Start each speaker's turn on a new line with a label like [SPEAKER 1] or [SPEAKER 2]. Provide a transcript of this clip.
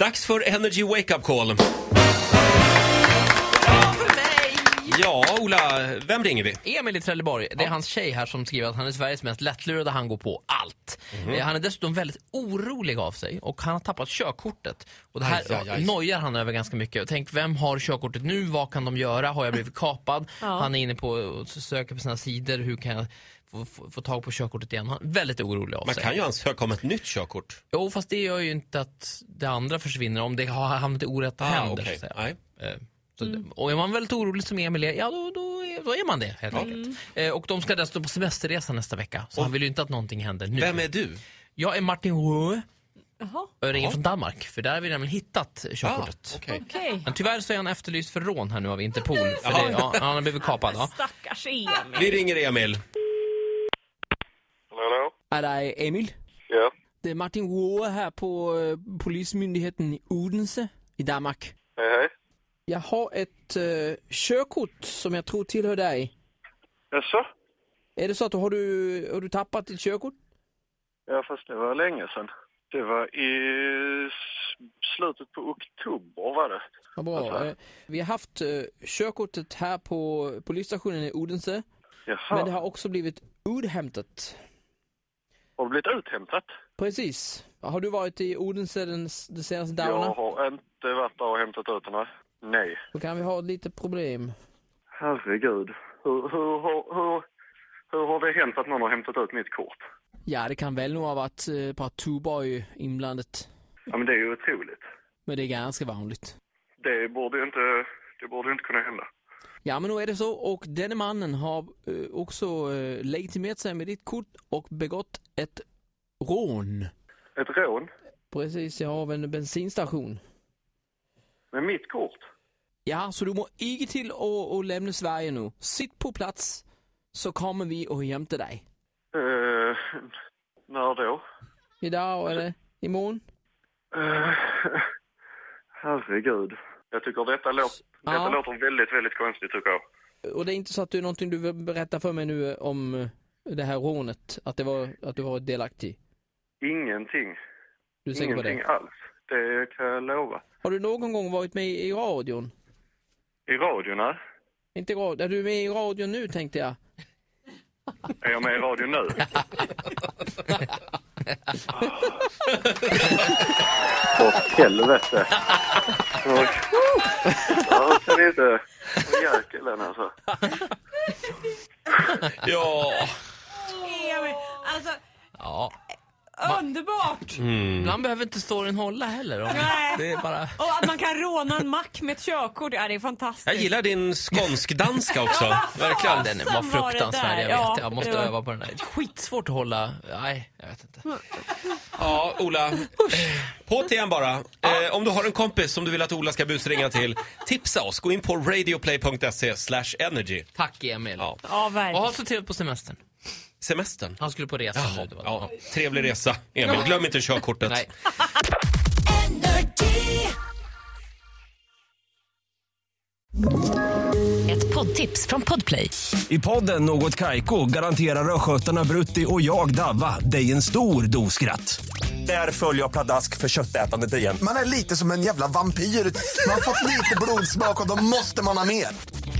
[SPEAKER 1] dags för Energy Wake Up Call. Ja, Ola, vem ringer vi?
[SPEAKER 2] Emil i Trelleborg, det är hans tjej här som skriver att han är Sveriges mest lättlurade, han går på allt.
[SPEAKER 1] Mhm.
[SPEAKER 2] Eh, Han är dessutom väldigt orolig av sig och han har tappat körkortet. Och det här
[SPEAKER 1] Aj, aj, aj.
[SPEAKER 2] nojar han över ganska mycket. Och Tänk, vem har körkortet nu? Vad kan de göra? Har jag blivit kapad? Han är inne på och söker på sina sidor, hur kan jag få, få, få tag på körkortet igen? Han är väldigt orolig av
[SPEAKER 1] Man
[SPEAKER 2] sig.
[SPEAKER 1] kan ju ansöka om ett nytt körkort.
[SPEAKER 2] Jo, fast det gör ju inte att det andra försvinner om det har hamnat i orätta händer. Så
[SPEAKER 1] Ah, okej.
[SPEAKER 2] att säga.
[SPEAKER 1] Nej.
[SPEAKER 2] Eh, Så,
[SPEAKER 3] Mm.
[SPEAKER 2] Och är man väldigt orolig som Emil är, ja då, då, är, då är man det helt
[SPEAKER 3] Mm.
[SPEAKER 2] enkelt. Eh, och de ska dessutom på semesterresa nästa vecka, så han vill ju inte att någonting händer nu.
[SPEAKER 1] Vem är du?
[SPEAKER 2] Jag är Martin Hue,
[SPEAKER 4] Jaha,
[SPEAKER 2] jag ringer
[SPEAKER 1] Ja.
[SPEAKER 2] från Danmark, för där har vi nämligen hittat körkortet.
[SPEAKER 1] Ah, okej.
[SPEAKER 4] okej.
[SPEAKER 2] Men tyvärr så är han efterlyst för rån här nu av Interpol, för
[SPEAKER 1] Jaha.
[SPEAKER 2] det, ja, han har blivit kapad. Ja.
[SPEAKER 4] Stackars Emil.
[SPEAKER 1] Vi ringer Emil.
[SPEAKER 5] Hallå?
[SPEAKER 3] Er det Emil?
[SPEAKER 5] Ja.
[SPEAKER 3] Det er Martin Rohre her på øh, politimyndigheten i Odense i Danmark.
[SPEAKER 5] Hej, hej.
[SPEAKER 3] Jeg har et øh, körkort, som jeg tror tilhører dig.
[SPEAKER 5] Jaså?
[SPEAKER 3] Er det så, at du har du, har du tappat dit körkort?
[SPEAKER 5] Ja, fast det var länge sedan. Det var i s- slutet på oktober, var det?
[SPEAKER 3] Ja, bra.
[SPEAKER 5] Varför?
[SPEAKER 3] Øh, Vi har haft øh, körkortet her på polisstationen i Odense,
[SPEAKER 5] Jaha.
[SPEAKER 3] men det har også blivit udhämtat.
[SPEAKER 5] Har det blivit uthämtat?
[SPEAKER 3] Precis. Har du varit i Odense den, s- de senaste dagarna?
[SPEAKER 5] Jag har inte varit där och hämtat ut den här. Nej.
[SPEAKER 3] Då kan vi ha ett litet problem.
[SPEAKER 5] Herregud. Hur, hur, hur, hur, hur har det hänt att någon har hämtat ut mitt kort?
[SPEAKER 3] Ja, det kan väl nog ha varit eh, ett par tuber i inblandet.
[SPEAKER 5] Ja, men det är ju otroligt.
[SPEAKER 3] Men det är ganska vanligt.
[SPEAKER 5] Det borde ju inte, det borde ju inte kunna hända.
[SPEAKER 3] Ja, men nu är det så. Och denne mannen har eh, också eh, legitimerat sig med ditt kort och begått ett rån.
[SPEAKER 5] Ett rån
[SPEAKER 3] Precis, jag har en bensinstation.
[SPEAKER 5] med mitt kort?
[SPEAKER 3] Ja, så du må inte till att att lämna Sverige nu. Sitt på plats, så kommer vi och hämtar dig.
[SPEAKER 5] Eh, när då?
[SPEAKER 3] Idag eller imorgon?
[SPEAKER 5] Eh, herregud. Jag tycker detta, låt,
[SPEAKER 3] Ja.
[SPEAKER 5] detta låter väldigt, väldigt konstigt tycker jag.
[SPEAKER 3] Och Øh, det är inte så att det är någonting du vill berätta för mig nu eh, om eh, det här rånet? Att, det var, att du var delaktig?
[SPEAKER 5] Ingenting.
[SPEAKER 3] Du är säker på
[SPEAKER 5] Ingenting
[SPEAKER 3] det?
[SPEAKER 5] alls. Det kan jag lova.
[SPEAKER 3] Har du någon gång varit med i radion?
[SPEAKER 5] I radion här.
[SPEAKER 3] Inte radio, är du med i radion nu tänkte jag?
[SPEAKER 5] Är jag med i radion nu? Åh, helvete. Åh, Jag kan inte... Åh, Jäkeln alltså.
[SPEAKER 1] Ja,
[SPEAKER 4] Emil. Alltså,
[SPEAKER 2] Ja.
[SPEAKER 4] underbart!
[SPEAKER 2] Ibland behöver inte storyn hålla heller. Om
[SPEAKER 4] Nej.
[SPEAKER 2] det är bara...
[SPEAKER 4] Och att man kan råna en mack med ett körkort, ja, det är fantastiskt.
[SPEAKER 1] jag gillar din skånskdanska också.
[SPEAKER 2] Verkligen.
[SPEAKER 4] fasen
[SPEAKER 2] Den var
[SPEAKER 4] var det
[SPEAKER 2] fruktansvärd,
[SPEAKER 4] där?
[SPEAKER 2] jag
[SPEAKER 4] Ja,
[SPEAKER 2] vet. Jag måste
[SPEAKER 4] det var-
[SPEAKER 2] öva på den där. Skitsvårt att hålla... Nej, jag vet inte.
[SPEAKER 1] Ja, Ola. På till igen bara. Eh, om du har en kompis som du vill att Ola ska busringa till, tipsa oss. Gå in på radioplay.se slash energy.
[SPEAKER 2] Tack Emil.
[SPEAKER 1] Ja.
[SPEAKER 4] Ja,
[SPEAKER 2] Och ha
[SPEAKER 4] verkligen.
[SPEAKER 2] så trevligt på semestern.
[SPEAKER 1] Semestern.
[SPEAKER 2] Han skulle på resa nu. Det var
[SPEAKER 1] Ja, trevlig resa, Emil. Glöm inte körkortet.
[SPEAKER 2] Nej.
[SPEAKER 6] Ett poddtips från Podplay.
[SPEAKER 7] I podden Något Kaiko garanterar östgötarna Brutti och jag, Davva, dig en stor dos skratt. Där följer jag pladask för köttätandet igen.
[SPEAKER 8] Man är lite som en jävla vampyr. Man har fått lite blodsmak och då måste man ha mer.